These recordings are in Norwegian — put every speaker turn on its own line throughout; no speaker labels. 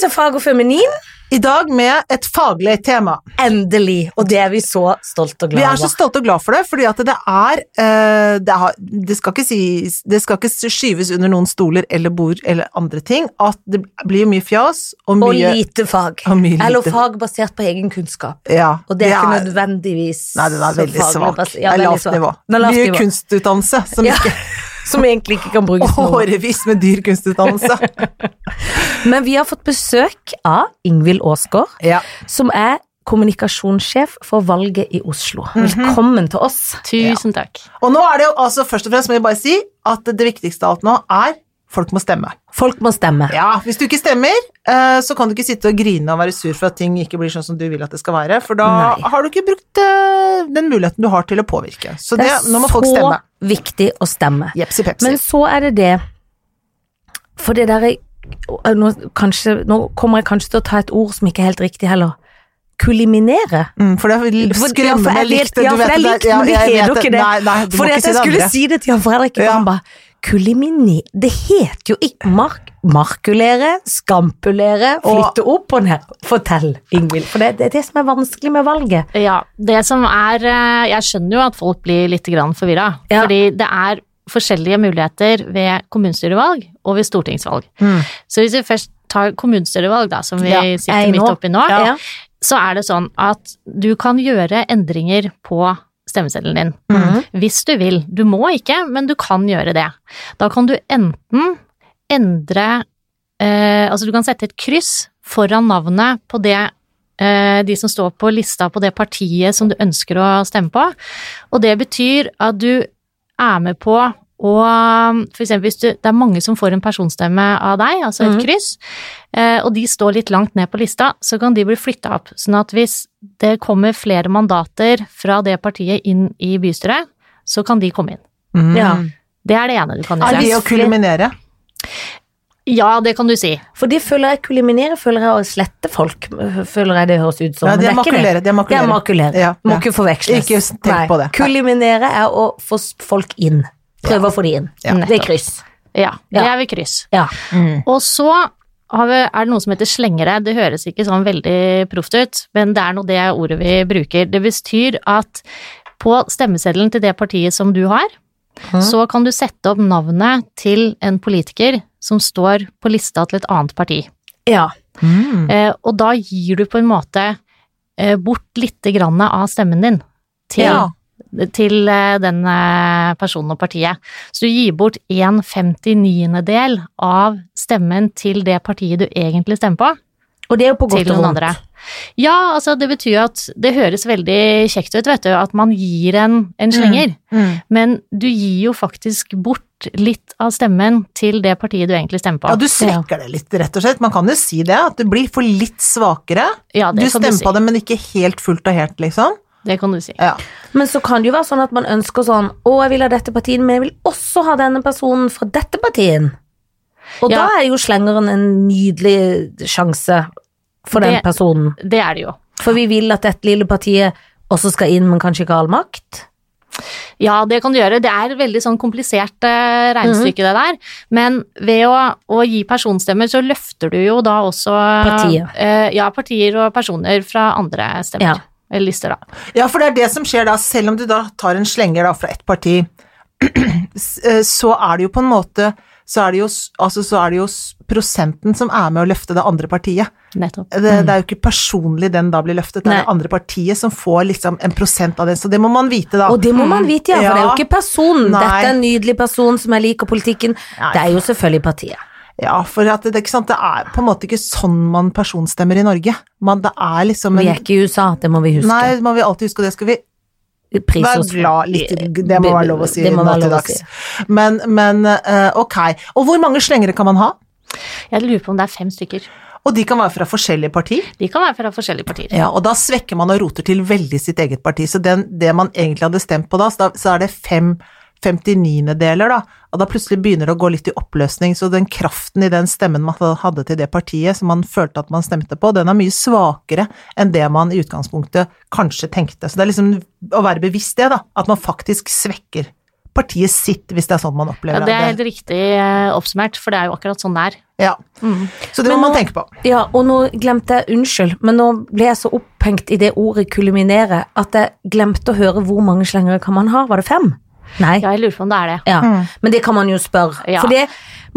til Fag og Feminin.
I dag med et faglig tema.
Endelig. Og det er vi så stolt og
Vi
glad
er så
over.
stolte og glad for det, fordi at det er eh, det, har, det, skal ikke sies- det skal ikke skyves under noen stoler eller bord eller andre ting at det blir mye fjas og
Og
mye
lite fag.
Og mye lite.
Eller fag basert på egen kunnskap.
Ja,
Og det er ikke
er-
nødvendigvis
Nei, den er
så
veldig
faglig
svak.
bas-
Det
Ja,
er
veldig
lavt
svak.
nivå.
Den er lavt
Mye
nivå.
kunstutdannelse som
Ja,
ikke
som egentlig ikke kan brukes nå.
Årevis med dyr kunstutdannelse.
Men vi har fått besøk av Ingvild Aasgaard,
ja.
som er kommunikasjonssjef for valget i Oslo.
Mhm.
Velkommen til oss.
Tusen takk.
Og nå er det jo altså først og fremst må jeg bare si at det viktigste av alt nå er folk må stemme.
Folk må stemme.
Ja, Hvis du ikke stemmer, eh, så kan du ikke sitte og grine og være sur for at ting ikke blir sånn som du vil at det skal være, for da
Nei.
har du ikke brukt eh, den muligheten du har til å påvirke. Så det, nå må folk
så
stemme.
viktig å stemme.
Jepsi pepsi.
Men så er det det For det derre nå, kanskje- nå kommer jeg kanskje til å ta et ord som ikke er helt riktig heller. Kuliminere.
mm, for det er
For- ja, for
skremmende
jeg
likt.
vet- ja, for
du vet
det er likt,
ja,
men det
jeg
heter
vet
ikke det.
Nei, nei, du
Fordi
må
at jeg
ikke si det
skulle
andre.
si det til Jan Fredrik, og
Ja.
han bare Kulimini Det heter jo ikke mark, markulere, skampulere,
Og-
flytte opp og ned. Fortell, Ingvild. For det, det er det som er vanskelig med valget.
Ja, det som er eh, Jeg skjønner jo at folk blir litt forvirra.
Ja.
Fordi det er forskjellige muligheter ved kommunestyrevalg og ved stortingsvalg.
Mm.
Så hvis vi først tar kommunestyrevalg, da, som vi
Ja, jeg
sitter
er
midt
nå.
oppi nå,
Ja.
så er det sånn at du kan gjøre endringer på stemmeseddelen din.
Mhm.
Hvis du vil. Du må ikke, men du kan gjøre det. Da kan du enten endre eh, Altså, du kan sette et kryss foran navnet på det eh, de som står på lista på det partiet som du ønsker å stemme på. Og det betyr at du er med på å For eksempel hvis du, det er mange som får en personstemme av deg, altså et
Mhm.
kryss, eh, og de står litt langt ned på lista, så kan de bli flytta opp. Sånn at hvis det kommer flere mandater fra det partiet inn i bystyret, så kan de komme inn.
Mm.
Ja.
Det er det ene du kan
Er det
gjøre.
å kuliminere?
Ja, det kan du si.
For det føler jeg kuliminere, føler jeg å slette folk, føler jeg det høres ut som.
Ja,
men
det er
ikke
makulere. Det er
Det er
makulere.
makulere.
Ja,
Må
ja.
ikke forveksles.
Ikke tenk på det. Nei.
Kuliminere er å få s- folk inn. Prøve å få de inn.
Ja.
Det er kryss.
Ja, det
Ja.
er ved kryss.
Ja.
Og så har vi, er det noe som heter slengere. Det høres ikke sånn veldig proft ut, men det er nå det ordet vi bruker. Det betyr at på stemmeseddelen til det partiet som du har, så kan du sette opp navnet til en politiker som står på lista til et annet parti.
ja.
Mm.
Eh, og da gir du på en måte eh, bort lite grann av stemmen din til,
Ja.
til eh, den eh, personen og partiet. Så du gir bort en 59-del av stemmen til det partiet du egentlig stemmer på,
Og det er jo på godt
til
og
noen
vondt.
andre. Ja, altså det betyr jo at det høres veldig kjekt ut, vet du, at man gir en, en slenger.
Mm.
Men du gir jo faktisk bort litt av stemmen til det partiet du egentlig stemmer på.
Ja, du svekker det litt, rett og slett. Man kan jo si det, at du blir for litt svakere.
Ja,
Du
det kan du
stemmer
si.
på det, men ikke helt fullt og helt, liksom.
Det kan du si.
Ja.
Men så kan det jo være sånn at man ønsker sånn Å, jeg vil ha dette partiet, men jeg vil også ha denne personen fra dette partiet. Og da
Ja.
er jo slengeren en nydelig sjanse for den
Det-
personen.
Det er det jo.
For vi vil at dette lille partiet også skal inn, men kanskje ikke ha all makt.
Ja, det kan du gjøre. Det er et veldig sånn komplisert eh, regnestykke det der. Men ved å, å gi personstemmer, så løfter du jo da også
Partiet.
eh, ja, partier og personer fra andre stemmer.
Ja.
Eller lister, da.
ja, for det er det som skjer da, selv om du da tar en slenger da fra ett parti, s- eh, så er det jo på en måte så er, det jo, s- altså, så er det jo s- prosenten som er med å løfte det andre partiet. Eh,
Nettopp.
Det, det er jo ikke personlig den da blir løftet, det er
Nei.
det andre partiet som får liksom en prosent av det, så det må man vite da. Mm.
Og det må man vite, ja, for det er jo
Ja.
ikke personen.
Nei.
Dette er en nydelig person som jeg liker politikken.
Nei.
Det er jo selvfølgelig partiet.
Ja, for at det, ikke sant? det er på en måte ikke sånn man personstemmer i Norge. Man, det er liksom
Vi
en
er ikke i USA, det må vi huske.
Nei, man vil alltid huske, og det skal vi
Pris
være
oss for.
glad litt Det må være lov å si
Det må
nå
være
til
lov å
dags.
si.
Men, men eh, ok. Og hvor mange slengere kan man ha?
Jeg lurer på om det er fem stykker.
Og de kan være fra forskjellige partier.
De kan være fra forskjellige partier.
Ja, og da svekker man og roter til veldig sitt eget parti. Så den, det man egentlig hadde stemt på da, så, da, så er det fem 59-deler, da. Og da plutselig begynner det å gå litt i oppløsning. Så den kraften i den stemmen man hadde til det partiet som man følte at man stemte på, den er mye svakere enn det man i utgangspunktet kanskje tenkte. Så det er liksom å være bevisst det, da. At man faktisk svekker partiet sitt, hvis det er sånn man
Ja,
opplever
det er
det.
helt riktig eh, oppsummert, for det er jo akkurat sånn det er.
Ja.
Mm.
Så det
Men
må man
nå-
tenke på.
Ja, og nå glemte jeg unnskyld, men nå ble jeg så opphengt i det ordet kuliminere at jeg glemte å høre hvor mange slengere kan man ha. Var det fem? Nei.
Ja, jeg lurer på om det er det.
Ja.
Mm.
Men det kan man jo spørre.
Ja.
For det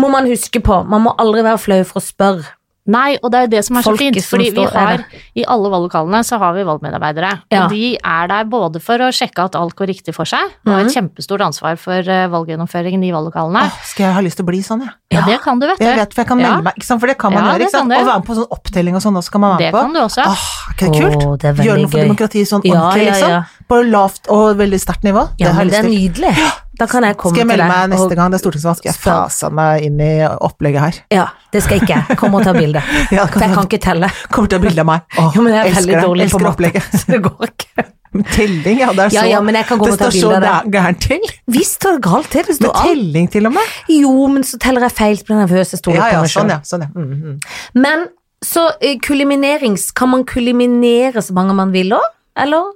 må man huske på. Man må aldri være flau for å spørre.
Nei, og det er jo det som er så
Folket
fint,
som
fordi vi
står- er
har
det.
i alle valglokalene så har vi valgmedarbeidere.
Ja.
Og de er der både for å sjekke at alt går riktig for seg, og har et kjempestort ansvar for eh, valggjennomføringen i valglokalene.
Mhm. Åh, skal jeg ha lyst til å bli sånn, jeg?
Ja,
Ja.
det kan du, vet
Jeg
du.
vet, for jeg kan
Ja.
melde meg, ikke sant? for det kan man
Ja, det
gjøre. ikke sant?
kan du.
Å være med på sånn opptelling og sånn, også kan man være
Det
med på.
kan du også.
Åh, er ikke det
Åh,
kult?
det er veldig
Gjøre noe for
gøy.
demokratiet sånn
Ja, ja,
ordentlig,
ja.
liksom. På lavt og veldig sterkt nivå.
Ja,
det
men
har
det
jeg
er
lyst til.
nydelig. Da kan jeg komme
Skal
til
jeg melde
deg. og-
meg neste gang det er stortingsvalg? Skal jeg
Spør.
fase meg inn i opplegget her?
Ja, det skal ikke jeg. Kom og ta bilde.
Ja, det
For jeg
kan
kan
du-
ikke telle.
Kommer til å ha bilde av meg. Åh,
Jo, men jeg er
elsker
veldig
det.
dårlig på
elsker
matte,
opplegget.
så det går ikke.
Telling, ja. Det er så,
Ja, ja, men jeg kan gå
det
og ta
står så
bilde av det.
gæ- gærent til.
Visst står det galt til. Det
Med
står alt.
telling til og med.
Jo, men så teller jeg feil, blir nervøs, jeg stoler
Ja,
på
ja,
meg
sånn
sjøl.
ja. Sånn, ja. Mm, mm.
Men så eh, kulinerings Kan man kuliminere så mange man vil òg, eller?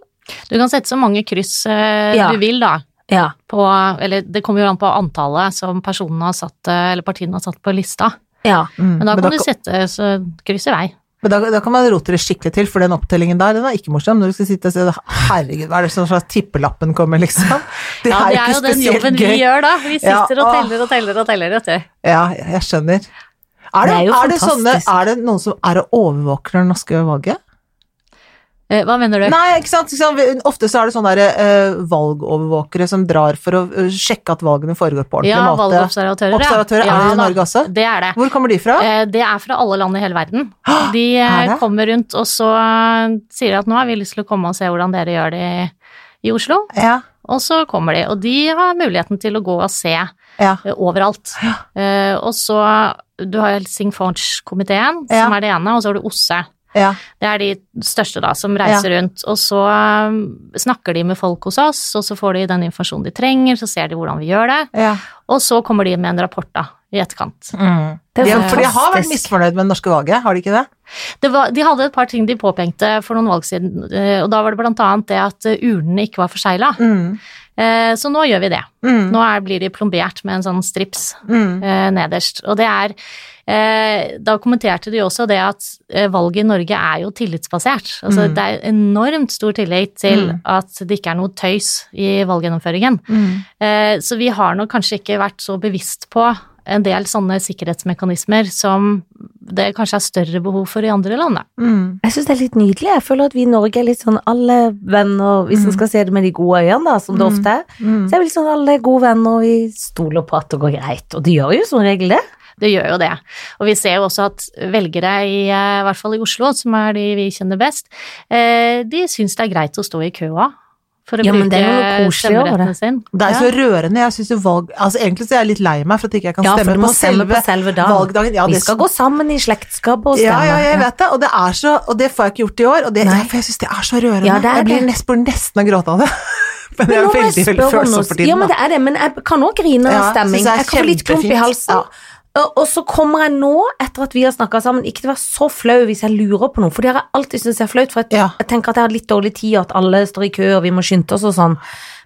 Du kan sette så mange kryss eh,
Ja.
du vil, da.
Ja.
På, eller det kommer jo an på antallet som personene har satt, eh, eller partiene har satt på lista.
ja.
Mm.
Men
Men
da kan
da
du
kan-
sette så kryss i vei.
Men da, da kan man rote det skikkelig til, for den opptellingen der, den er ikke morsom. Når du skal sitte og se, herregud, hva er det sånn slags tippelappen kommer, liksom? Det
Ja, det
ikke
er jo den
spesielt
jobben vi
gøy.
gjør da. Vi
Ja,
sitter og
åh.
teller og teller og teller, vet du.
Ja, jeg skjønner.
Det
Er det,
er
er
jo
det, sånne,
fantastisk.
er det noen som er og overvåker det norske valget?
Eh, Hva mener du?
Nei, ikke sant? Ikke sant? Vi- Ofte så er det sånne der, eh, valgovervåkere som drar for å eh, sjekke at valgene foregår på ordentlig
Ja,
måte.
valgobservatører. ja.
Observatører,
Ja,
er det i
da.
Norge også?
Det er det.
Hvor kommer de fra?
Eh, Det er fra alle land i hele verden. De
er
eh,
det?
kommer rundt og så eh, sier de at nå har vi lyst til å komme og se hvordan dere gjør det i- i Oslo.
Ja,
Og så kommer de, og de har muligheten til å gå og se eh,
ja.
overalt. Eh, Og så du har Helsingforskomiteen,
Ja.
som er det ene, og så har du OSSE.
Ja,
Det er de største da, som reiser rundt, og så um, snakker de med folk hos oss, og så får de den informasjonen de trenger, så ser de hvordan vi gjør det,
ja.
og så kommer de med en rapport da, i etterkant.
Mm.
Det er
De, har- for de har vært
fantastisk.
misfornøyd med det norske valget, har de ikke det?
Det var, de hadde et par ting de påpengte for noen valg siden, eh, og da var det blant annet det at eh, urnene ikke var forsegla.
Mm.
Eh, Så nå gjør vi det.
Mm.
Nå er, blir de plombert med en sånn strips
Mm.
eh, nederst, og det er eh, da kommenterte de også det at eh, valget i Norge er jo tillitsbasert. Altså,
Mm.
Det er enormt stor tillit til
Mm.
at det ikke er noe tøys i valggjennomføringen.
Mm.
Eh, Så vi har nok kanskje ikke vært så bevisst på en del sånne sikkerhetsmekanismer som det kanskje er større behov for i andre land. da.
Mm.
Jeg syns det er litt nydelig. Jeg føler at vi i Norge er litt sånn alle venner, hvis en skal se det med de gode øynene, da, som det
Mm.
ofte er.
Mm.
Så er vi litt sånn alle er gode venner, og vi stoler på at det går greit. Og det gjør jo som regel det.
Det gjør jo det. Og vi ser jo også at velgere, i eh, hvert fall i Oslo, som er de vi kjenner best, eh, de syns det er greit å stå i køa for å
Ja, men det er jo noe
bruke
koselig over
stemmeretten
det.
sin.
Det er
Ja.
så rørende. Jeg synes jo valg altså Egentlig så er jeg litt lei meg for at ikke jeg kan
Ja, for du
stemme på
må stemme
selve
på selve dagen.
valgdagen. Ja,
vi
det-
skal gå sammen i slektskapet og
ja,
stemme.
ja, jeg vet det, og det er så Og det får jeg ikke gjort i år, og det,
Nei.
ja, for jeg syns det er så rørende.
Ja, det er
jeg blir
det.
nest, burde nesten å gråte av det. Men, det
Men
er
nå må
veldig,
jeg
veldig
spørre om
følsomt
noe.
for tiden.
Ja, men
da.
det er det, men jeg kan òg grine av
Ja,
stemming.
synes jeg er
Jeg kan få litt klump i
kjempefint.
halsen.
Ja.
Og og så kommer jeg nå, etter at vi har snakka sammen, ikke til å være så flau hvis jeg lurer på noe, for det har jeg alltid syntes er flaut, for jeg,
Ja.
jeg tenker at jeg har litt dårlig tid, og at alle står i kø, og vi må skynde oss og sånn,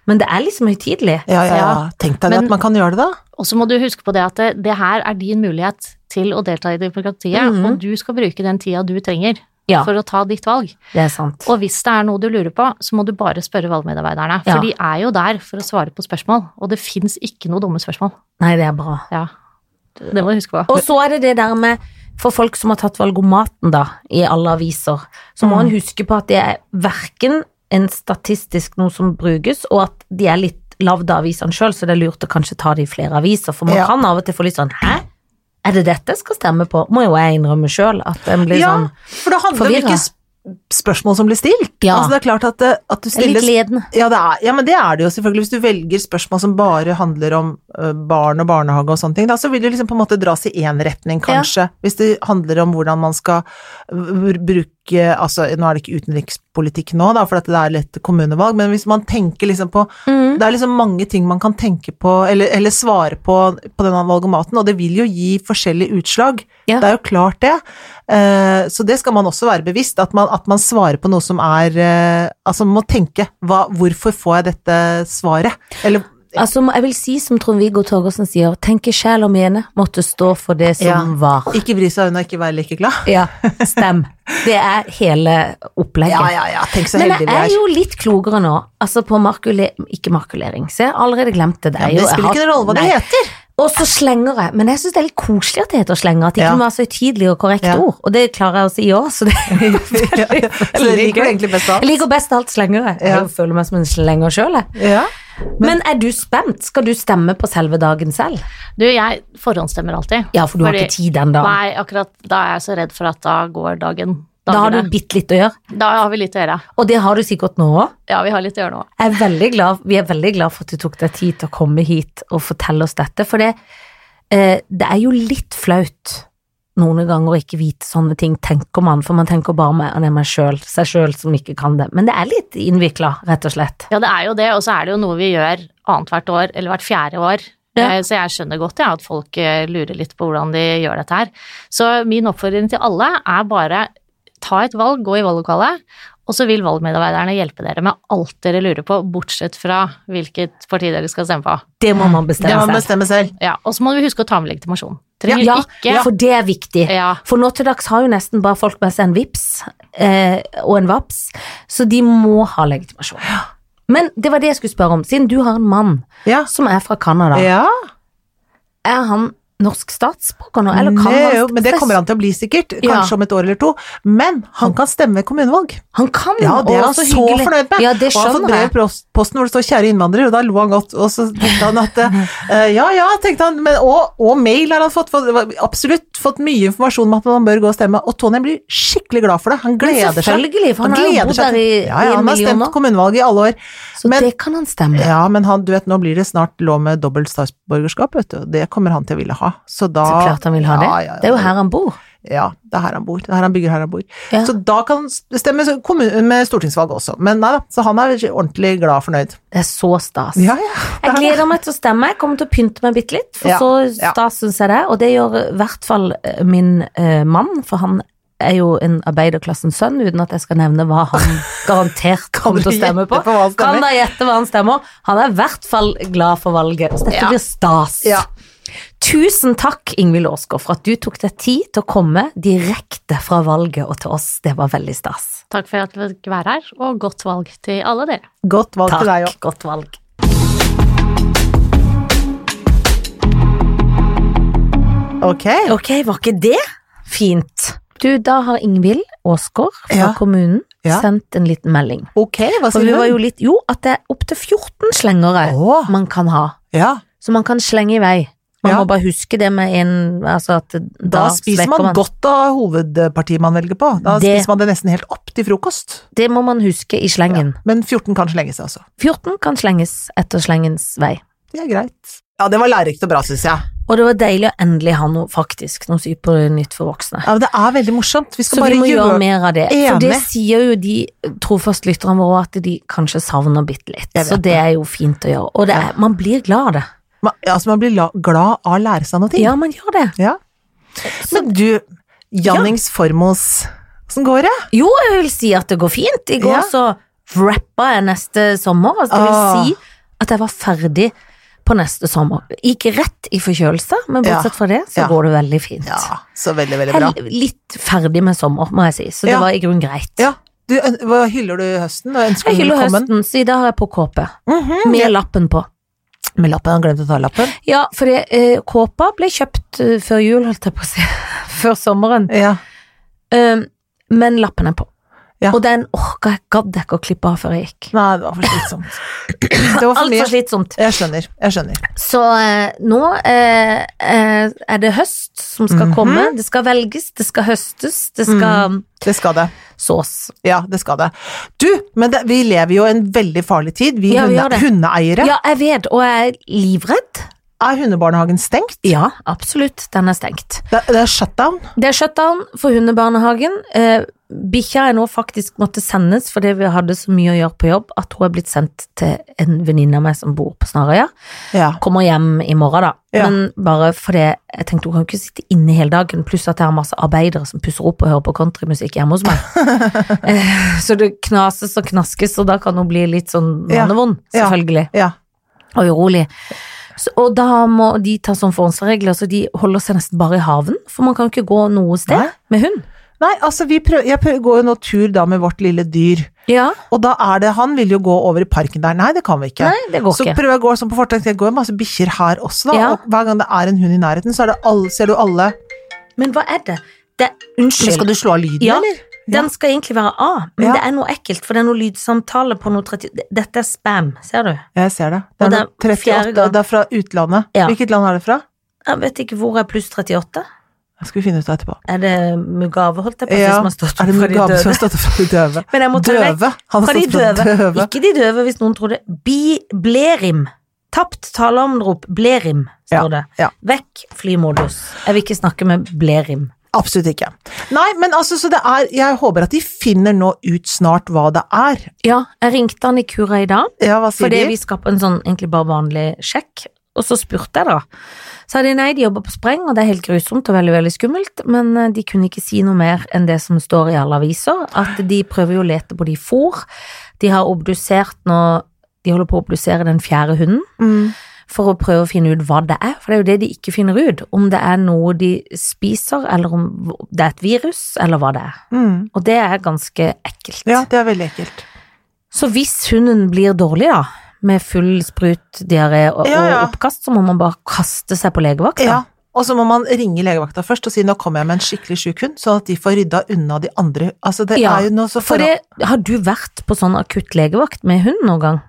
men det er liksom høytidelig.
Ja, ja, ja.
Ja.
Tenk deg det
Men-
at man kan gjøre det, da.
Og så må du huske på det at det, det her er din mulighet til å delta i demokratiet,
Mhm.
og du skal bruke den tida du trenger
Ja.
for å ta ditt valg.
Det er sant.
Og hvis det er noe du lurer på, så må du bare spørre valgmedarbeiderne, for
Ja.
de er jo der for å svare på spørsmål, og det fins ikke noe dumme spørsmål.
Nei, det er bra.
Ja. Det må du huske på.
Og så er det det der med for folk som har tatt valgomaten da, i alle aviser, så må
Mm.
en huske på at det er verken en statistisk noe som brukes, og at de er litt lavd av avisene sjøl, så det er lurt å kanskje ta det i flere aviser, for man
Ja.
kan av og til få litt sånn hæ? Er det dette jeg skal stemme på? Må jo jeg innrømme sjøl at en blir
Ja,
sånn
for det handler om
forvirra.
hvilke sp- spørsmål som blir stilt.
Ja.
Altså, det er klart at, det- at du
Det er
stiller
litt ledende.
Ja, det er, ja, men det er det jo selvfølgelig. Hvis du velger spørsmål som bare handler om ø, barn og barnehage og sånne ting, da, så vil det liksom på en måte dras i én retning, kanskje. Hvis det handler om hvordan man skal br- bruke Altså, nå er det ikke utenrikspolitikk nå, da, for at det er litt kommunevalg, men hvis man tenker liksom på Det er liksom mange ting man kan tenke på, eller, eller svare på, på denne valgomaten, og det vil jo gi forskjellige utslag.
Ja.
Det er jo klart, det. Eh, Så det skal man også være bevisst, at man, at man svarer på noe som er eh, Altså man må tenke hva, hvorfor får jeg dette svaret? Eller
Altså, må- jeg vil si som Trond-Viggo Torgersen sier, tenke sjel og mene måtte stå for det som
Ja.
var.
Ikke vri seg unna, ikke være like glad.
Ja, stem. Det er hele opplegget.
Ja, ja, ja, tenk så
Men
heldige
jeg
vi
er
er.
jo litt klokere nå, altså på markule... Ikke markulering, se, jeg har allerede glemt det.
Ja, men det spiller ikke noen rolle hva det heter.
Og så slenger jeg, men jeg syns det er litt koselig at det heter slenger, at det
Ja.
ikke må være så høytidelig og korrekt
Ja.
ord, og det klarer jeg å si i år, så det
Ja, ja. Så det liker du egentlig best av
Jeg liker best av alt slengere.
Ja.
Jeg føler meg som en slenger sjøl, jeg.
Ja.
Men er du spent? Skal du stemme på selve dagen selv?
Du, jeg forhåndsstemmer alltid.
Ja, for du har
Fordi-
ikke tid den dagen.
Nei, akkurat da er jeg så redd for at da går dagen.
Da har
dagene.
du bitte litt å gjøre,
da har vi litt å gjøre.
og det har du sikkert nå òg.
Ja, vi har litt å gjøre nå.
Jeg er veldig glad, vi er veldig glad for at du tok deg tid til å komme hit og fortelle oss dette, for det, eh, det er jo litt flaut noen ganger å ikke vite sånne ting, tenker man, for man tenker bare med det er meg selv, seg selv som ikke kan det. Men det er litt innvikla, rett og slett.
Ja, det er jo det, og så er det jo noe vi gjør annethvert år, eller hvert fjerde år.
Ja.
Eh, Så jeg skjønner godt ja, at folk eh, lurer litt på hvordan de gjør dette her. Så min oppfordring til alle er bare ta et valg, gå i valglokalet, og så vil valgmedarbeiderne hjelpe dere med alt dere lurer på, bortsett fra hvilket parti dere skal stemme på.
Det må man bestemme
Det må man
selv.
bestemme selv.
Ja, og så må du huske å ta med legitimasjon. Trenger
Ja,
ikke
for det er viktig.
Ja.
For nå til dags har jo nesten bare folk med seg en vips eh, og en vaps, så de må ha legitimasjon. Men det var det jeg skulle spørre om, siden du har en mann
Ja.
som er fra Canada.
ja.
Er han norsk statsborger nå, eller kan
Nei,
han
jo, men det kommer han til å bli sikkert,
Ja.
kanskje om et år eller to. Men han kan stemme ved kommunevalg.
Han kan!
Ja, det er
å,
han så, fornøyd med.
Ja, det
og han har fått
skjønner
brev i
jeg.
post- posten hvor det står 'kjære innvandrer', og da lo han godt. Og så tenkte han at eh, ja ja, tenkte han, men, og, og mail har han fått, fått. det var Absolutt fått mye informasjon om at man bør gå og stemme. Og Tony blir skikkelig glad for det. Han
Men
gleder seg.
Selvfølgelig, for han, har jo bodd der i,
ja,
i en
ja, han har
million
stemt
år.
kommunevalg i alle år.
Så
men-
det kan han stemme.
Ja, men han, du vet, nå blir det snart lov med dobbelt statsborgerskap, vet du. og Det kommer han til å ville ha. Så da
Så klart han vil ha det.
Ja, ja, ja.
Det er jo her han bor.
Ja, det er her han bor. Det er her han bygger, her han bor.
Ja.
Så da kan han stemme så- kommun- med stortingsvalg også. Men nei da, så han er ordentlig glad og fornøyd.
Det er så stas.
Ja, ja.
Jeg gleder meg til å stemme. Jeg kommer til å pynte meg bitte litt, for
Ja,
så
ja.
stas syns jeg det. Og det gjør i hvert fall eh, min eh, mann, for han er jo en arbeiderklassens sønn, uten at jeg skal nevne hva han garantert kommer til å stemme på.
Gjette hva han stemmer.
Kan da gjette hva han stemmer. Han er i hvert fall glad for valget, så dette
Ja.
blir stas.
Ja.
Tusen takk, Ingvild Aasgaard, for at du tok deg tid til å komme direkte fra valget og til oss. Det var veldig stas.
Takk for at du fikk være her, og godt valg til alle dere.
Godt valg til deg òg.
Takk, godt valg.
Ok.
Ok, var ikke det fint? Du, da har Ingvild Aasgaard fra
Ja.
kommunen
Ja.
sendt en liten melding.
Ok, hva
For vi
sier
var jo
du?
litt Jo, at det er opptil 14 slengere
Å.
man kan ha.
Ja,
Så man kan slenge i vei. Man
Ja.
må bare huske det med en Altså at da,
da spiser
svekker
man godt av hovedpartiet man velger på. Da
Det-
spiser man det nesten helt opp til frokost.
Det må man huske i slengen.
Men 14 kan slenge seg også.
14 kan slenges etter slengens vei.
Det er greit. Ja, det var lærerikt og bra, syns jeg.
Og det var deilig å endelig ha noe faktisk, noe supernytt for voksne.
Ja, men det er veldig morsomt. Vi skal
Så
bare
vi må gjøre
gjøre
mer av det. For
Enig.
det sier jo de trofast lytterne våre at de kanskje savner bitte litt.
Jeg vet
Så det er jo fint å gjøre. Og det er, man blir glad av det.
man, altså, man blir la, glad av å lære seg noe.
Ja, man gjør det.
Ja. Men du, Jannings Formos, åssen går det?
Jo, jeg vil si at det går fint. I går
Ja.
så rappa jeg neste sommer. Altså, det
Ah.
vil si at jeg var ferdig på neste sommer. Gikk rett i forkjølelse, men
Ja.
bortsett fra det så
Ja.
går det veldig fint.
Ja, så veldig, veldig
Jeg
bra.
er litt ferdig med sommer, må jeg si, så det
Ja.
var i grunnen greit.
Ja. Du, øn- hva hyller du høsten? Og ønsker
Jeg
du
hyller
velkommen?
høsten, så i dag har jeg på kåpe. Med lappen på.
Med lappen, han glemte å ta lappen.
Ja, for det, eh, kåpa ble kjøpt eh, før jul, holdt jeg på å si. før sommeren.
Ja.
Um, men lappen er på.
Ja.
Og den orka jeg gadd jeg ikke å klippe av før jeg gikk.
Nei, det var for slitsomt. Det var for
Altfor
mye.
slitsomt.
Jeg skjønner, jeg skjønner.
Så eh, nå eh, eh, er det høst som skal
Mhm.
komme. Det skal velges, det skal høstes, det skal
Det skal det.
sås.
Ja, det skal det. Du, men det, vi lever jo en veldig farlig tid. Vi,
Ja, vi gjør
hunde,
det.
hundeeiere.
Ja, jeg vet, og jeg er livredd.
Er hundebarnehagen stengt?
Ja, absolutt. Den er stengt.
Det, det er shutdown.
Det er shutdown for hundebarnehagen. Eh, Bikkja er nå faktisk måtte sendes fordi vi hadde så mye å gjøre på jobb at hun er blitt sendt til en venninne av meg som bor på Snarøya.
Ja.
Kommer hjem i morgen, da.
Ja.
Men bare fordi jeg tenkte hun kan jo ikke sitte inne hele dagen, pluss at jeg har masse arbeidere som pusser opp og hører på countrymusikk hjemme hos meg. eh, så det knases og knaskes, og da kan hun bli litt sånn
Ja.
mannevond,
Ja.
selvfølgelig.
ja.
og urolig. Så, og da må de ta sånn forhåndsregler, så de holder seg nesten bare i haven. For man kan jo ikke gå noe sted
Nei.
med hund.
Nei, altså vi prøv, jeg prøv, går jo nå tur da med vårt lille dyr,
Ja,
og da er det han vil jo gå over i parken der. Nei, det kan vi ikke.
Nei, det går
Så
ikke.
prøver jeg å gå sånn på fortauet, det går jo masse bikkjer her også, da.
Ja.
Og hver gang det er en hund i nærheten, så er det alle, ser du alle
Men hva er det? det
Men
unnskyld.
Skal du slå av lyden,
Ja,
eller?
Den skal egentlig være A, men
Ja.
det er noe ekkelt, for det er noe lydsamtale på noe 30 d- Dette er spam, ser du?
Jeg ser det. Det
Og
er
det er
noe 38,
fjerde gang.
det er fra utlandet.
Ja.
Hvilket land er det fra?
Jeg vet ikke hvor er pluss 38?
Det skal vi finne ut av etterpå.
Er det Mugave, holdt jeg på å si,
Ja,
som har stått
Er
opp
det
fra de
Mugabe som
døde?
har stått opp for de døve?
Men jeg må ta det vekk.
Døve! Han
Fra
har
de
stått for
døve.
de døve.
Ikke de døve, hvis noen tror det. Bi, blerim. Tapt taleomrop. Blerim, står det.
ja.
Vekk flymodus. Jeg vil ikke snakke med blerim.
Absolutt ikke. Nei, men altså, så det er Jeg håper at de finner nå ut snart hva det er.
Ja, jeg ringte han i kura i dag,
Ja, hva sier
fordi vi
de?
skal på en sånn egentlig bare vanlig sjekk. Og så spurte jeg, da. Sa de nei, de jobber på spreng, og det er helt grusomt og veldig veldig skummelt, men eh, de kunne ikke si noe mer enn det som står i alle aviser, at de prøver jo å lete på de fôr. De har obdusert nå De holder på å obdusere den fjerde hunden.
Mm.
for å prøve å finne ut hva det er, for det er jo det de ikke finner ut, om det er noe de spiser, eller om det er et virus, eller hva det er.
Mm.
Og det er ganske ekkelt.
Ja, det er veldig ekkelt.
Så hvis hunden blir dårlig da, med full sprut, diaré og,
Ja, ja.
og oppkast, så må man bare kaste seg på legevakt.
Ja.
da.
Og så må man ringe legevakta først og si 'nå kommer jeg med en skikkelig sjuk hund', sånn at de får rydda unna de andre. Altså, det
Ja,
er jo noe så
For det, har du vært på sånn akutt legevakt med hund noen gang?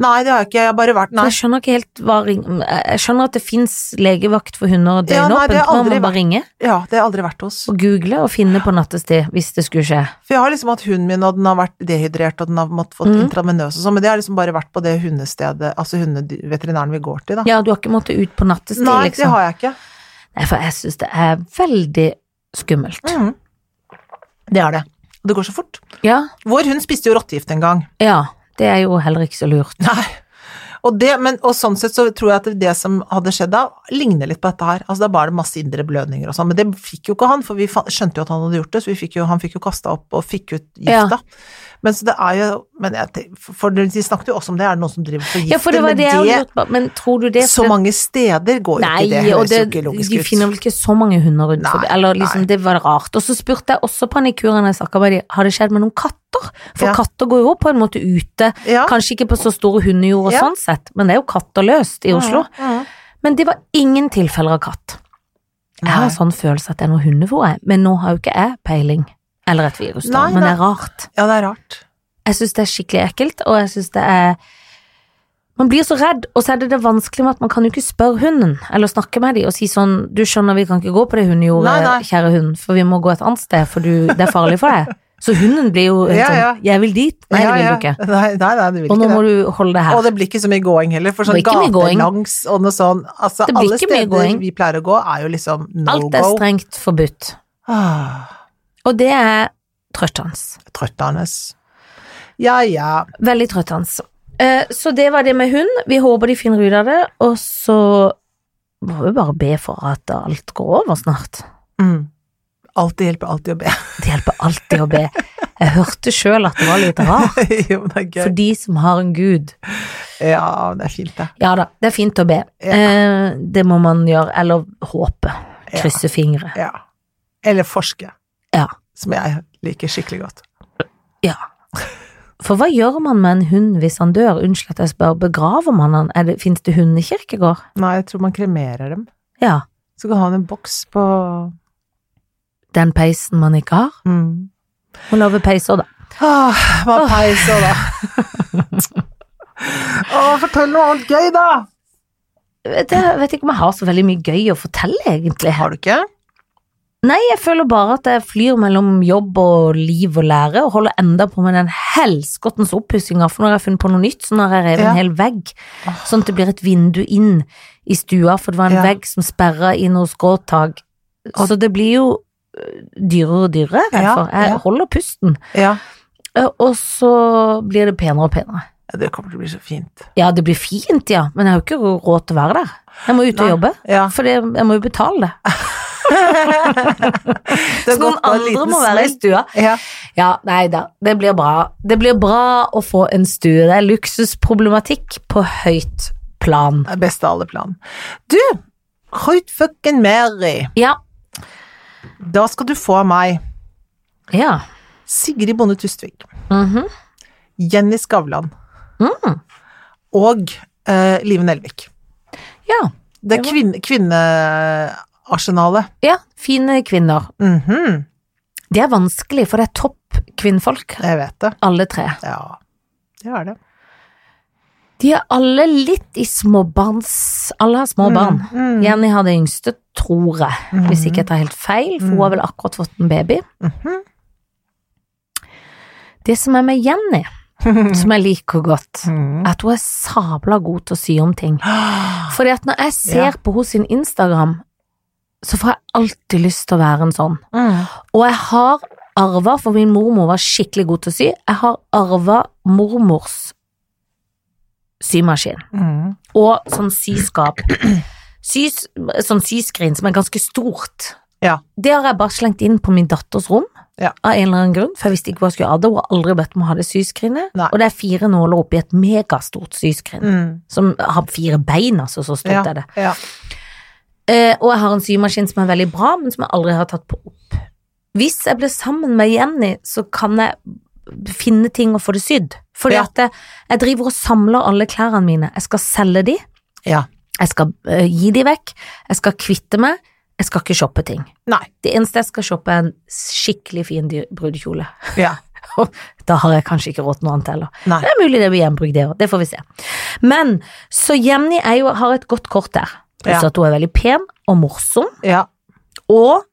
Nei, det har jeg ikke. Jeg har bare vært
For
Nei.
jeg skjønner ikke helt hva ring- Jeg skjønner at det finnes legevakt for hunder
Ja, nei,
døgnåpent,
det har
ja,
aldri
man må
vært-
bare ringe
Ja, det har jeg aldri vært hos.
og google og finne på nattestid hvis det skulle skje.
For jeg har liksom hatt hunden min, og den har vært dehydrert, og den har måttet fått
Mhm.
intravenøs og sånn, men det har liksom bare vært på det hundestedet, altså hundeveterinæren vi går til, da.
Ja, du har ikke måttet ut på nattestid,
Nei,
liksom?
det har jeg ikke.
Nei, for jeg syns det er veldig skummelt.
Mhm. Det er det. Og det går så fort.
Ja,
Vår hund spiste jo rottegift en gang.
Mm. ja, det er jo heller ikke så lurt.
Nei. Og, det, men, og sånn sett så tror jeg at det som hadde skjedd da, ligner litt på dette her. Altså da var det masse indre blødninger og sånn, men det fikk jo ikke han, for vi fa- skjønte jo at han hadde gjort det, så vi fikk jo, han fikk jo kasta opp og fikk ut
Ja.
gifta. Men så det er jo men jeg, tenk- For de snakket jo også om det, er det noen som driver for gifter?
Ja, for det var
men
det jeg lurte på, men tror du det
så mange steder går jo
Nei,
ikke det,
og
høres
det,
jo ikke logisk
de
ut.
finner vel ikke så mange hunder rundt
Nei,
forbi, eller liksom,
nei.
det var rart. Og så spurte jeg også panikuren jeg snakket med de, har det skjedd med noen katter? For
Ja.
katter går jo på en måte ute,
Ja.
kanskje ikke på så store hundejord og
Ja.
sånn sett, men det er jo katter løst i Oslo.
Mhm.
Men det var ingen tilfeller av katt. Jeg har
Nei.
en sånn følelse at det er noe hundefôr, jeg, men nå har jo ikke jeg peiling. Eller et virus, da,
Nei,
men det
nei.
er rart.
Ja, det er rart.
Jeg syns det er skikkelig ekkelt, og jeg syns det er Man blir så redd, og så er det det vanskelig med at man kan jo ikke spørre hunden, eller snakke med dem og si sånn Du skjønner vi kan ikke gå på det hundejordet,
Nei, nei.
kjære hund, for vi må gå et annet sted, for du, det er farlig for deg. Så hunden blir jo helt
Ja, ja.
sånn Jeg vil dit. Nei,
Ja,
det vil
ja.
du ikke.
Nei, nei, nei, det vil
Og nå
ikke
må
det.
du holde deg
Og
her.
det blir ikke så mye gåing heller, for
Det blir
sånn
ikke mye
gatelangs
gåing.
og noe sånn, altså
Det blir
alle
ikke mye
steder
gåing.
vi pleier å gå er jo liksom no
Alt
go.
er strengt forbudt.
Ah,
Og det er trøttende.
Trøttende. Ja, ja.
Veldig trøttende. Eh, Så det var det med hund. Vi håper de finner ut av det, og så må vi bare be for at alt går over snart.
Mm. Alltid hjelper alltid å be.
Det hjelper alltid å be. Jeg hørte sjøl at det var litt rart
jo, men det er
for
gøy.
de som har en gud.
Ja, det er fint, det.
Ja da, det er fint å be.
Ja.
Eh, Det må man gjøre. Eller håpe. Krysse fingre.
Ja. Eller forske,
Ja.
som jeg liker skikkelig godt.
ja. For hva gjør man med en hund hvis han dør? Unnskyld at jeg spør, begraver man han? Er det- Fins det hundekirkegård?
Nei, jeg tror man kremerer dem.
Ja.
Så kan han ha en boks på
Den peisen man ikke har?
mm.
Må lage peiser, da.
ah, Hva
Åh.
peis og da? Å, fortell noe annet gøy, da!
Vet jeg, jeg vet ikke om jeg har så veldig mye gøy å fortelle, egentlig.
Har du ikke?
Nei, jeg føler bare at jeg flyr mellom jobb og liv og lære, og holder enda på med den helskottens oppussinga, for nå har jeg funnet på noe nytt, så nå har jeg revet
Ja.
en hel vegg,
Åh.
sånn at det blir et vindu inn i stua, for det var en
Ja.
vegg som sperra i noe skråtak. Så det blir jo øh, dyrere og dyrere, jeg er redd
Ja,
for. Jeg
ja.
holder pusten.
Ja.
Ø, Og så blir det penere og penere.
Ja, Det kommer til å bli så fint.
Ja, det blir fint, ja, men jeg har jo ikke råd til å være der. Jeg må ut og
Nei.
jobbe,
Ja.
for det, jeg må jo betale det.
Det
Så noen
har gått på en
andre
liten
må være i
smell.
stua.
Ja.
Ja, nei da. Det blir bra. Det blir bra å få en stue. Det er luksusproblematikk på høyt plan.
Best av alle plan. Du, Ruth fucking Mary,
Ja.
da skal du få av meg
Ja.
Sigrid Bonde Tustvik,
Mhm.
Jenny Skavlan
Mm.
og eh, Live Nelvik.
ja.
Det
Det
er
var-
kvinne, kvinnearsenalet.
Ja. Fine kvinner.
Mhm,
Det er vanskelig, for det er topp kvinnfolk,
jeg vet det.
alle tre.
Ja, det er det.
De er alle litt i småbarns... Alle har små barn.
Mm, mm,
Jenny har det yngste, tror jeg, hvis ikke jeg tar helt feil, for
Mm.
hun har vel akkurat fått en baby.
mhm.
Det som er med Jenny, som jeg liker godt,
mm.
er at hun er sabla god til å sy om ting.
Ah,
Fordi at når jeg ser
Ja.
på hos sin Instagram, så får jeg alltid lyst til å være en sånn.
Mm.
Og jeg har arva, for min mormor var skikkelig god til å sy, jeg har arva mormors symaskin.
Mm.
og sånn syskap. Sys, sånn syskrin som er ganske stort.
Ja.
Det har jeg bare slengt inn på min datters rom,
Ja.
av en eller annen grunn, for jeg visste ikke hva jeg skulle ha det, og har aldri bedt om å ha det syskrinet.
Nei.
Og det er fire nåler oppi et megastort syskrin,
Mm.
som har fire bein, altså, så stort
Ja,
er det.
ja.
Eh, og jeg har en symaskin som er veldig bra, men som jeg aldri har tatt på opp. Hvis jeg blir sammen med Jenny, så kan jeg finne ting og få det sydd. Fordi
Ja.
at jeg, jeg driver og samler alle klærne mine. Jeg skal selge de.
Ja.
Jeg skal eh, gi de vekk. Jeg skal kvitte meg. Jeg skal ikke shoppe ting.
Nei.
Det eneste jeg skal shoppe, er en skikkelig fin dyr- brudekjole.
Ja.
Da har jeg kanskje ikke råd til noe annet heller.
Nei.
Det er mulig det blir gjenbrukt, det òg. Det får vi se. Men så Jenny er jo, har et godt kort der. Pluss
Ja.
at hun er veldig pen og morsom.
Ja.
Og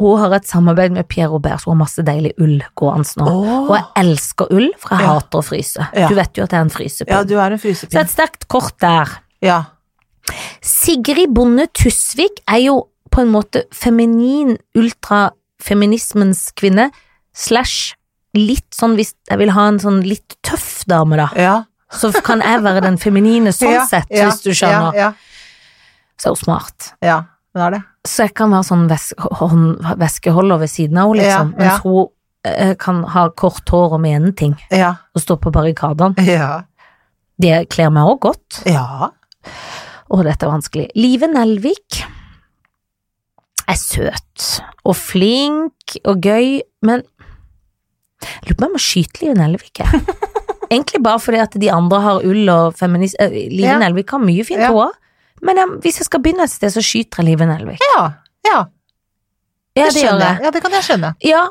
hun har et samarbeid med Pierre Robert, så hun har masse deilig ull gående nå. Og jeg elsker ull, for jeg
Ja.
hater å fryse.
Ja.
Du vet jo at jeg er en frysepinn.
Ja, du er en
Så
frysepinn.
et sterkt kort der.
Ja.
Sigrid Bonde Tusvik er jo på en måte feminin, ultrafeminismens kvinne, slash litt sånn hvis jeg vil ha en sånn litt tøff dame, da,
Ja.
så kan jeg være den feminine sånn
ja.
sett,
ja.
hvis du skjønner.
Ja,
Så er hun smart.
ja. ja. det er det.
Så jeg kan være sånn ves hånd- væskeholder ved siden av henne, liksom.
Ja, ja.
Mens hun eh, kan ha kort hår og mene ting,
Ja.
og stå på barrikadene.
Ja.
Det kler meg òg godt.
Ja.
Å, dette er vanskelig. Live Nelvik er søt og flink og gøy, men jeg lurer på om jeg må skyte Live Nelvik, jeg. Egentlig bare fordi at de andre har ull og feminist... eh, Live
Ja.
Nelvik har mye fint
Ja.
hår, men eh, hvis jeg skal begynne et sted, så skyter jeg Live Nelvik.
Ja. ja.
Ja,
Det
det gjør
skjønner
jeg.
jeg. Ja, det kan jeg skjønne.
Ja,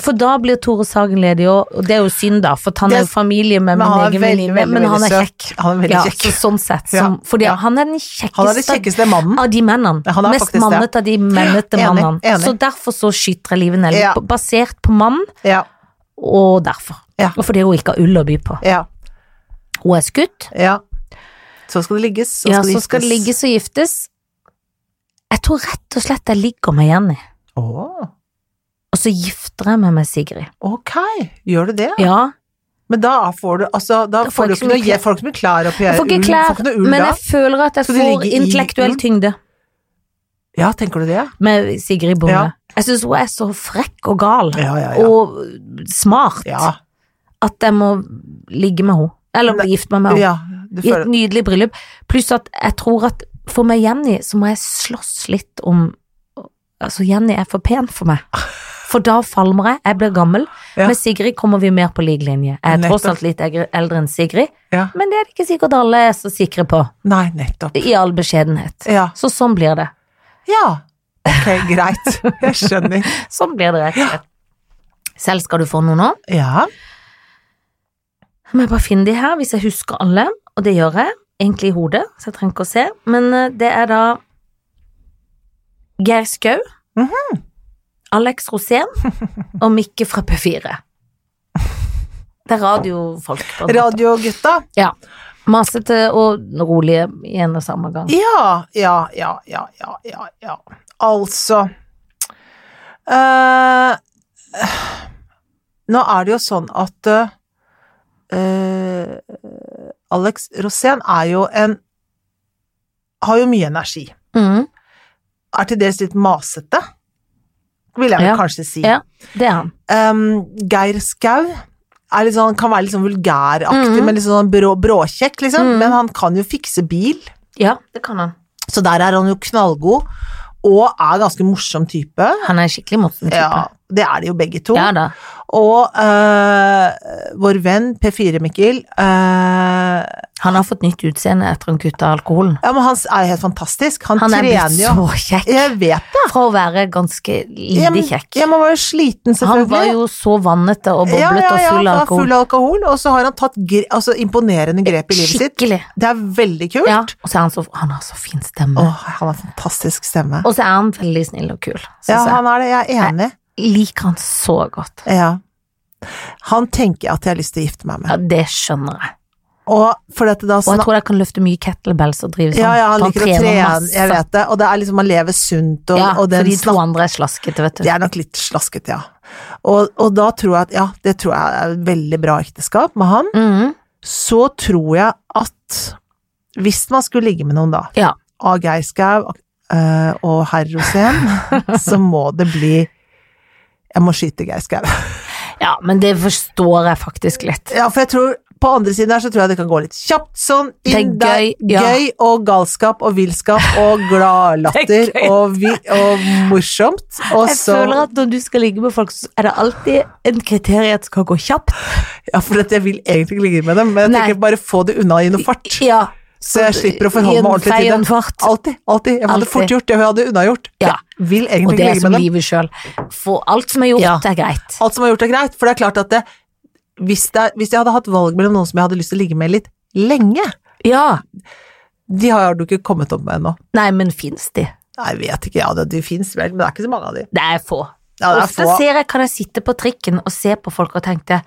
for da blir Tore Sagen ledig òg, og det er jo synd, da, for han er
Det-
jo familie med
men
min
han er
egen
veldig,
venninne,
veldig,
men han
veldig
er
søt.
kjekk.
Han er veldig
Ja,
kjekk.
så sånn sett, som,
Ja,
fordi
ja.
han er den
Han er den
kjekkeste
kjekkeste mannen.
av de mennene.
Mm. Ja, han er
Mest
faktisk det.
mannet av de mennete
Enig,
mennene.
enig.
Så derfor så skyter jeg livet ned.
Ja.
Basert på mann,
Ja.
og derfor.
Ja.
Og fordi hun ikke har ull å by på.
Ja.
Hun er skutt,
Ja. Så skal det ligges. Så
ja,
skal det
så skal det
giftes.
ligges og giftes. Jeg tror rett og slett jeg ligger med Jenny,
Åh,
og så gifter jeg meg med Sigrid.
ok. Gjør du det?
Ja,
Men da får du altså, da
Da får
får du
jeg ikke så
ikke noe
mye
ge-
klær.
Folk som blir klær oppi
jeg får ikke
Får
klær,
ikke noe ull
men
da?
jeg føler at jeg
Så det
får
ligger i
intellektuell
ull?
tyngde
Ja, tenker du det?
med Sigrid Bonde.
Ja.
Jeg synes hun er så frekk og gal,
Ja, ja, ja.
og smart,
ja,
at jeg må ligge med henne. Eller
Nei,
bli gift med henne.
ja du
I et
føler
nydelig bryllup. Pluss at jeg tror at for meg Jenny, så må jeg slåss litt om Altså, Jenny er for pen for meg. For da falmer jeg, jeg blir gammel.
Ja.
Med Sigrid kommer vi mer på lik linje. Jeg er tross
Nettopp.
alt litt egre- eldre enn Sigrid,
Ja.
men det er det ikke sikkert alle er så sikre på,
Nei, nettopp.
i all beskjedenhet.
Ja.
Så sånn blir det.
ja. Ok, greit. Jeg skjønner.
Sånn blir det rett og slett. Selv skal du få noe nå.
Ja.
Jeg må jeg bare finne de her, hvis jeg husker alle, og det gjør jeg, egentlig i hodet, så jeg trenger ikke å se, men eh, det er da Geir Skau,
Mhm.
Alex Rosén og Mikke fra P4. Det er radiofolk på en måte.
Radiogutta.
Masete og rolige i en og samme gang.
Ja, ja, ja, ja, ja, ja, ja. Altså eh, Nå er det jo sånn at eh, Alex Rosén er jo en Har jo mye energi.
Mm,
Er til dels litt masete, vil jeg vel
Ja.
kanskje si.
Ja. det er han.
Em, Geir Skau er litt sånn, kan være litt sånn vulgæraktig,
Mhm.
men litt sånn brå, bråkjekk, liksom.
Mhm.
Men han kan jo fikse bil,
Ja, det kan han.
så der er han jo knallgod. Og er ganske morsom type.
Han er en skikkelig morsom type.
Ja, det er de jo begge to.
Ja da.
Og eh, vår venn P4-Mikkel
Han har fått nytt utseende etter han kutta alkoholen.
eh, Ja, men han er jo helt fantastisk. Han,
Han er blitt
trener jo.
så kjekk.
Jeg vet det.
Fra å være ganske
Jeg,
lite kjekk.
jeg må være
Han
sliten, selvfølgelig.
var jo så vannete og
ja,
boblet
ja,
og
ja,
full av
han var
alkohol.
Full av alkohol, og så har han tatt gre altså, imponerende grep i livet sitt.
Skikkelig.
Det er veldig kult.
Ja, og så er han så Han har så fin stemme.
Åh, han har fantastisk stemme.
Og så er han veldig snill og kul, syns
Ja, han er det. Jeg er enig.
jeg. Liker han så godt.
Ja. Han tenker at jeg har lyst til å gifte meg
Ja,
med.
det skjønner jeg.
Og for dette da
Og jeg
snak-
tror jeg kan løfte mye kettlebells og drive sånn.
ja, ja, han
for
liker å
trener
trene,
masse.
jeg vet det. Og det er liksom, han lever sunt, og,
ja,
og den
for de to
snak-
andre er slaskete, vet du.
Det er nok litt slaskete, ja. Og, og da tror jeg at Ja, det tror jeg er et veldig bra ekteskap med han.
Mhm.
Så tror jeg at hvis man skulle ligge med noen, da,
Ja.
av Geirskau eh, og herr Rosén, så må det bli Jeg må skyte Geirskau.
ja, men det forstår jeg faktisk litt.
Ja, for jeg tror på andre siden her så tror jeg det kan gå litt kjapt sånn. Inn
Det er
der.
gøy, ja.
gøy og galskap og villskap og gladlatter
Det er gøy.
og, vi, og morsomt. Og
Jeg
så
føler at når du skal ligge med folk, så er det alltid en kriterie at det skal gå kjapt.
Ja, for at jeg vil egentlig ikke ligge med dem, men jeg
Nei.
tenker bare få det unna i noe fart.
Ja.
Så jeg slipper å forholde meg ordentlig til det.
Fart.
Alltid, alltid. Jeg hadde
Alltid.
fort gjort det jeg hadde unnagjort.
Ja.
Jeg vil
Og det
egentlig ikke
er
ligge
som
med dem.
livet sjøl. For alt som er gjort,
Ja.
er greit.
Alt som er gjort er greit, for det er klart at det, hvis, det, er- hvis jeg hadde hatt valg mellom noen som jeg hadde lyst til å ligge med litt lenge,
Ja.
de har du ikke kommet opp med ennå.
Nei, men fins de?
Nei, jeg vet ikke, ja, det, de finnes vel, men det er ikke så mange av de.
Det er få.
Ja, det er
Ofte
få.
ser jeg, kan jeg sitte på trikken og se på folk og tenke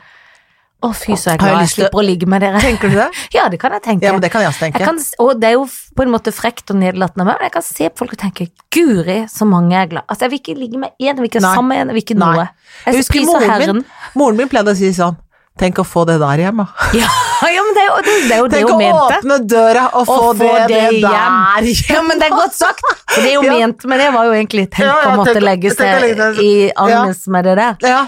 å fy, så er jeg
Har jeg
glad jeg
lyst til-
slipper å ligge med dere.
Tenker du det?
Ja, det kan jeg tenke.
Ja, men det kan jeg også tenke.
Jeg kan, og det er jo f- på en måte frekt og nedlatende, av meg, men jeg kan se på folk og tenke guri, så mange jeg er glad Altså, jeg vil ikke ligge med én, jeg vil ikke
Nei.
være sammen med én, jeg vil ikke
Nei.
noe.
Jeg
Jeg
husker
priser
moren
Herren.
min, moren min pleide å si sånn, tenk å få det der hjemme.
Ja, ja, men det er jo det, det, er jo det
Tenk å
hun mente.
åpne døra og få, det, det, der
Ja, men det er godt sagt. For det hun
Ja.
mente med det, var jo egentlig tenk
Ja,
å
ja,
måtte
tenk-
legge
tenk å
seg
legge seg-
i agnes med det der.
Ja,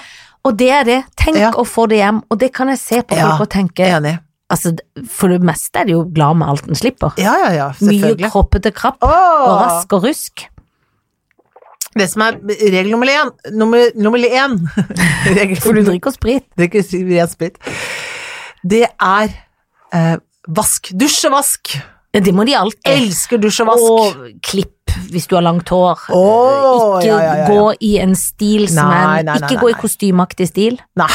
Og det er det. Tenk
Ja.
å få det hjem, og det kan jeg se på
Ja.
folk og tenke.
jeg er enig.
Altså, for det meste er de jo glad med alt en slipper.
Ja, ja, ja,
Mye
selvfølgelig.
kroppete krapp og
Åh!
rask og rusk.
Det som er regel nummer én Nummer, nummer én Regel
For du drikker sprit.
Det er ikke ren sprit. Det er eh, vask. Dusj og vask.
Ja, Det må de alltid.
Elsker dusj og vask.
Og klipp hvis du har langt hår. Eh,
Åh,
ikke
ja, ja, ja, ja.
gå i en stil som er en-
Nei, nei, nei,
Ikke
nei,
gå i
nei.
kostymeaktig stil.
Nei.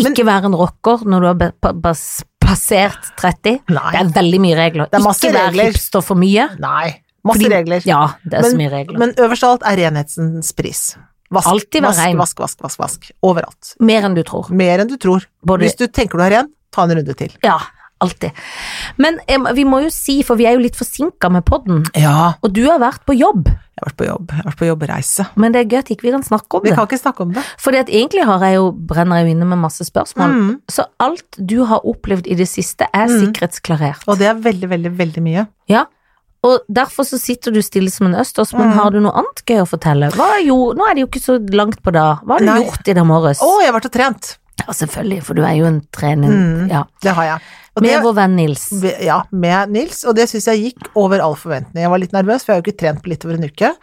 Men-
Ikke være en rocker når du har be- pa- pas- passert 30.
Nei.
Det er veldig mye regler.
Det er masse
ikke vær
regler.
hipster for mye.
nei. Masse
fordi-
regler.
Ja, det er så mye regler.
men øverst av alt er renhetsens pris. Vask,
Altid være
vask,
ren.
vask, vask, vask, vask. Overalt.
Mer enn du tror.
Mer enn du tror.
Både-
Hvis du tenker du er ren, ta en runde til.
Ja, alltid. Men em, vi må jo si, for vi er jo litt forsinka med podden,
Ja,
og du har vært på jobb,
jeg har vært på jobb. Jeg har vært på jobbreise.
men det er gøy at ikke vi kan snakke om
Vi
det.
kan ikke snakke om det.
Fordi at egentlig har jeg jo, brenner jeg jo inne med masse spørsmål.
Mm.
Så alt du har opplevd i det siste er
Mm.
sikkerhetsklarert.
Og det er veldig, veldig, veldig mye.
Ja, og derfor så sitter du stille som en østers, men
Mm.
har du noe annet gøy å fortelle? Hva er jo, nå er det jo ikke så langt på da. Hva har du
Nei.
gjort i dag morges?
Å, jeg har vært og trent.
Ja, selvfølgelig, for du er jo en trening.
Mm.
Ja.
Det har jeg. Og
Med
det-
vår venn Nils.
Ve- Ja, med Nils, og det syns jeg gikk over all forventning. Jeg var litt nervøs, for jeg har jo ikke trent på litt over en uke.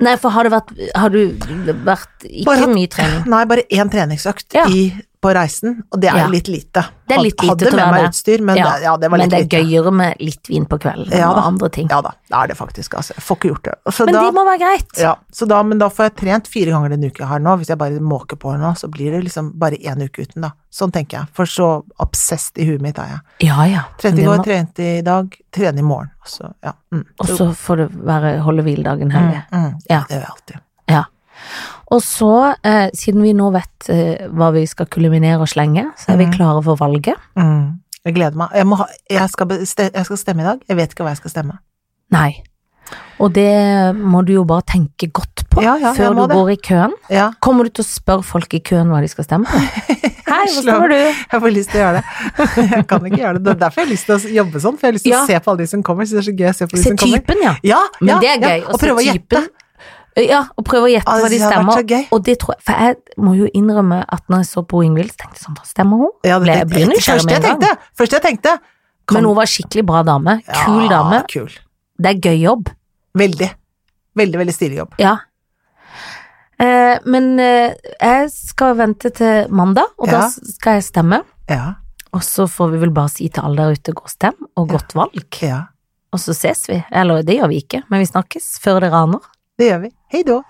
Nei, for har, det vært, har du vært ikke
Bare hatt-
mye trening?
Nei, bare én treningsøkt
Ja.
i, på reisen, og det er
Ja.
jo litt lite.
Det er litt lite
Had-
til
Hadde
å
med
være
meg
det.
utstyr, men
Ja,
det, ja, det var
men
litt
det er
lite.
gøyere med litt vin på kvelden
Ja
og
da.
andre ting.
Ja da, det er det faktisk, altså. Jeg får ikke gjort det. Så
Men
da,
det må være greit.
ja, så da, men da får jeg trent fire ganger denne uka her nå, hvis jeg bare måker på nå, så blir det liksom bare én uke uten, da. Sånn tenker jeg, for så obsessed i huet mitt er jeg.
Ja, ja.
Trente i
Det
går,
må-
trente i dag, trene i morgen. Og så, ja. Mm.
Og så får det være holde hviledagen
mm,
hellig.
mm,
Ja.
Det gjør jeg alltid.
Ja. Og så, eh, siden vi nå vet eh, hva vi skal kuliminere og slenge, så er vi
Mhm.
klare for valget.
Mm. Jeg gleder meg. Jeg, må ha, jeg, skal beste, jeg skal stemme i dag. Jeg vet ikke hva jeg skal stemme.
Nei. Og det må du jo bare tenke godt på
Ja, ja, jeg
før du
må det.
går i køen.
Ja,
Kommer du til å spørre folk i køen hva de skal stemme på? Hei, hva
Slå.
stemmer du?
jeg får lyst til å gjøre det. Jeg kan ikke gjøre det. Det er derfor jeg har lyst til å jobbe sånn, for jeg har lyst til
Ja.
å se på alle de som kommer. Så det er så gøy å se på de
Se
som kommer.
typen, ja.
Ja,
Men
ja,
det er gøy
ja.
å
Og
se
prøve å gjette.
typen. Ja, og prøve å gjette
Ja,
hva de
det hadde vært så
stemmer.
gøy.
Og det tror jeg, for jeg må jo innrømme at når jeg så på Ingvild, så tenkte jeg sånn, hva stemmer hun?
Ja, det-
Ble- ble
det-
nysgjerrig
første
med
jeg
en gang.
tenkte, Første jeg tenkte kan-
Men hun var skikkelig bra dame. Kul
Ja,
dame.
Kul.
Det er gøy jobb.
Veldig. Veldig, veldig stilig jobb.
Ja. Eh, men eh, jeg skal vente til mandag, og da
Ja.
s- skal jeg stemme.
Ja.
Og så får vi vel bare si til alle der ute, gå og stem, og
Ja.
godt valg.
ja.
Og så ses vi. Eller det gjør vi ikke, men vi snakkes før dere aner.
Det gjør vi. Hei då.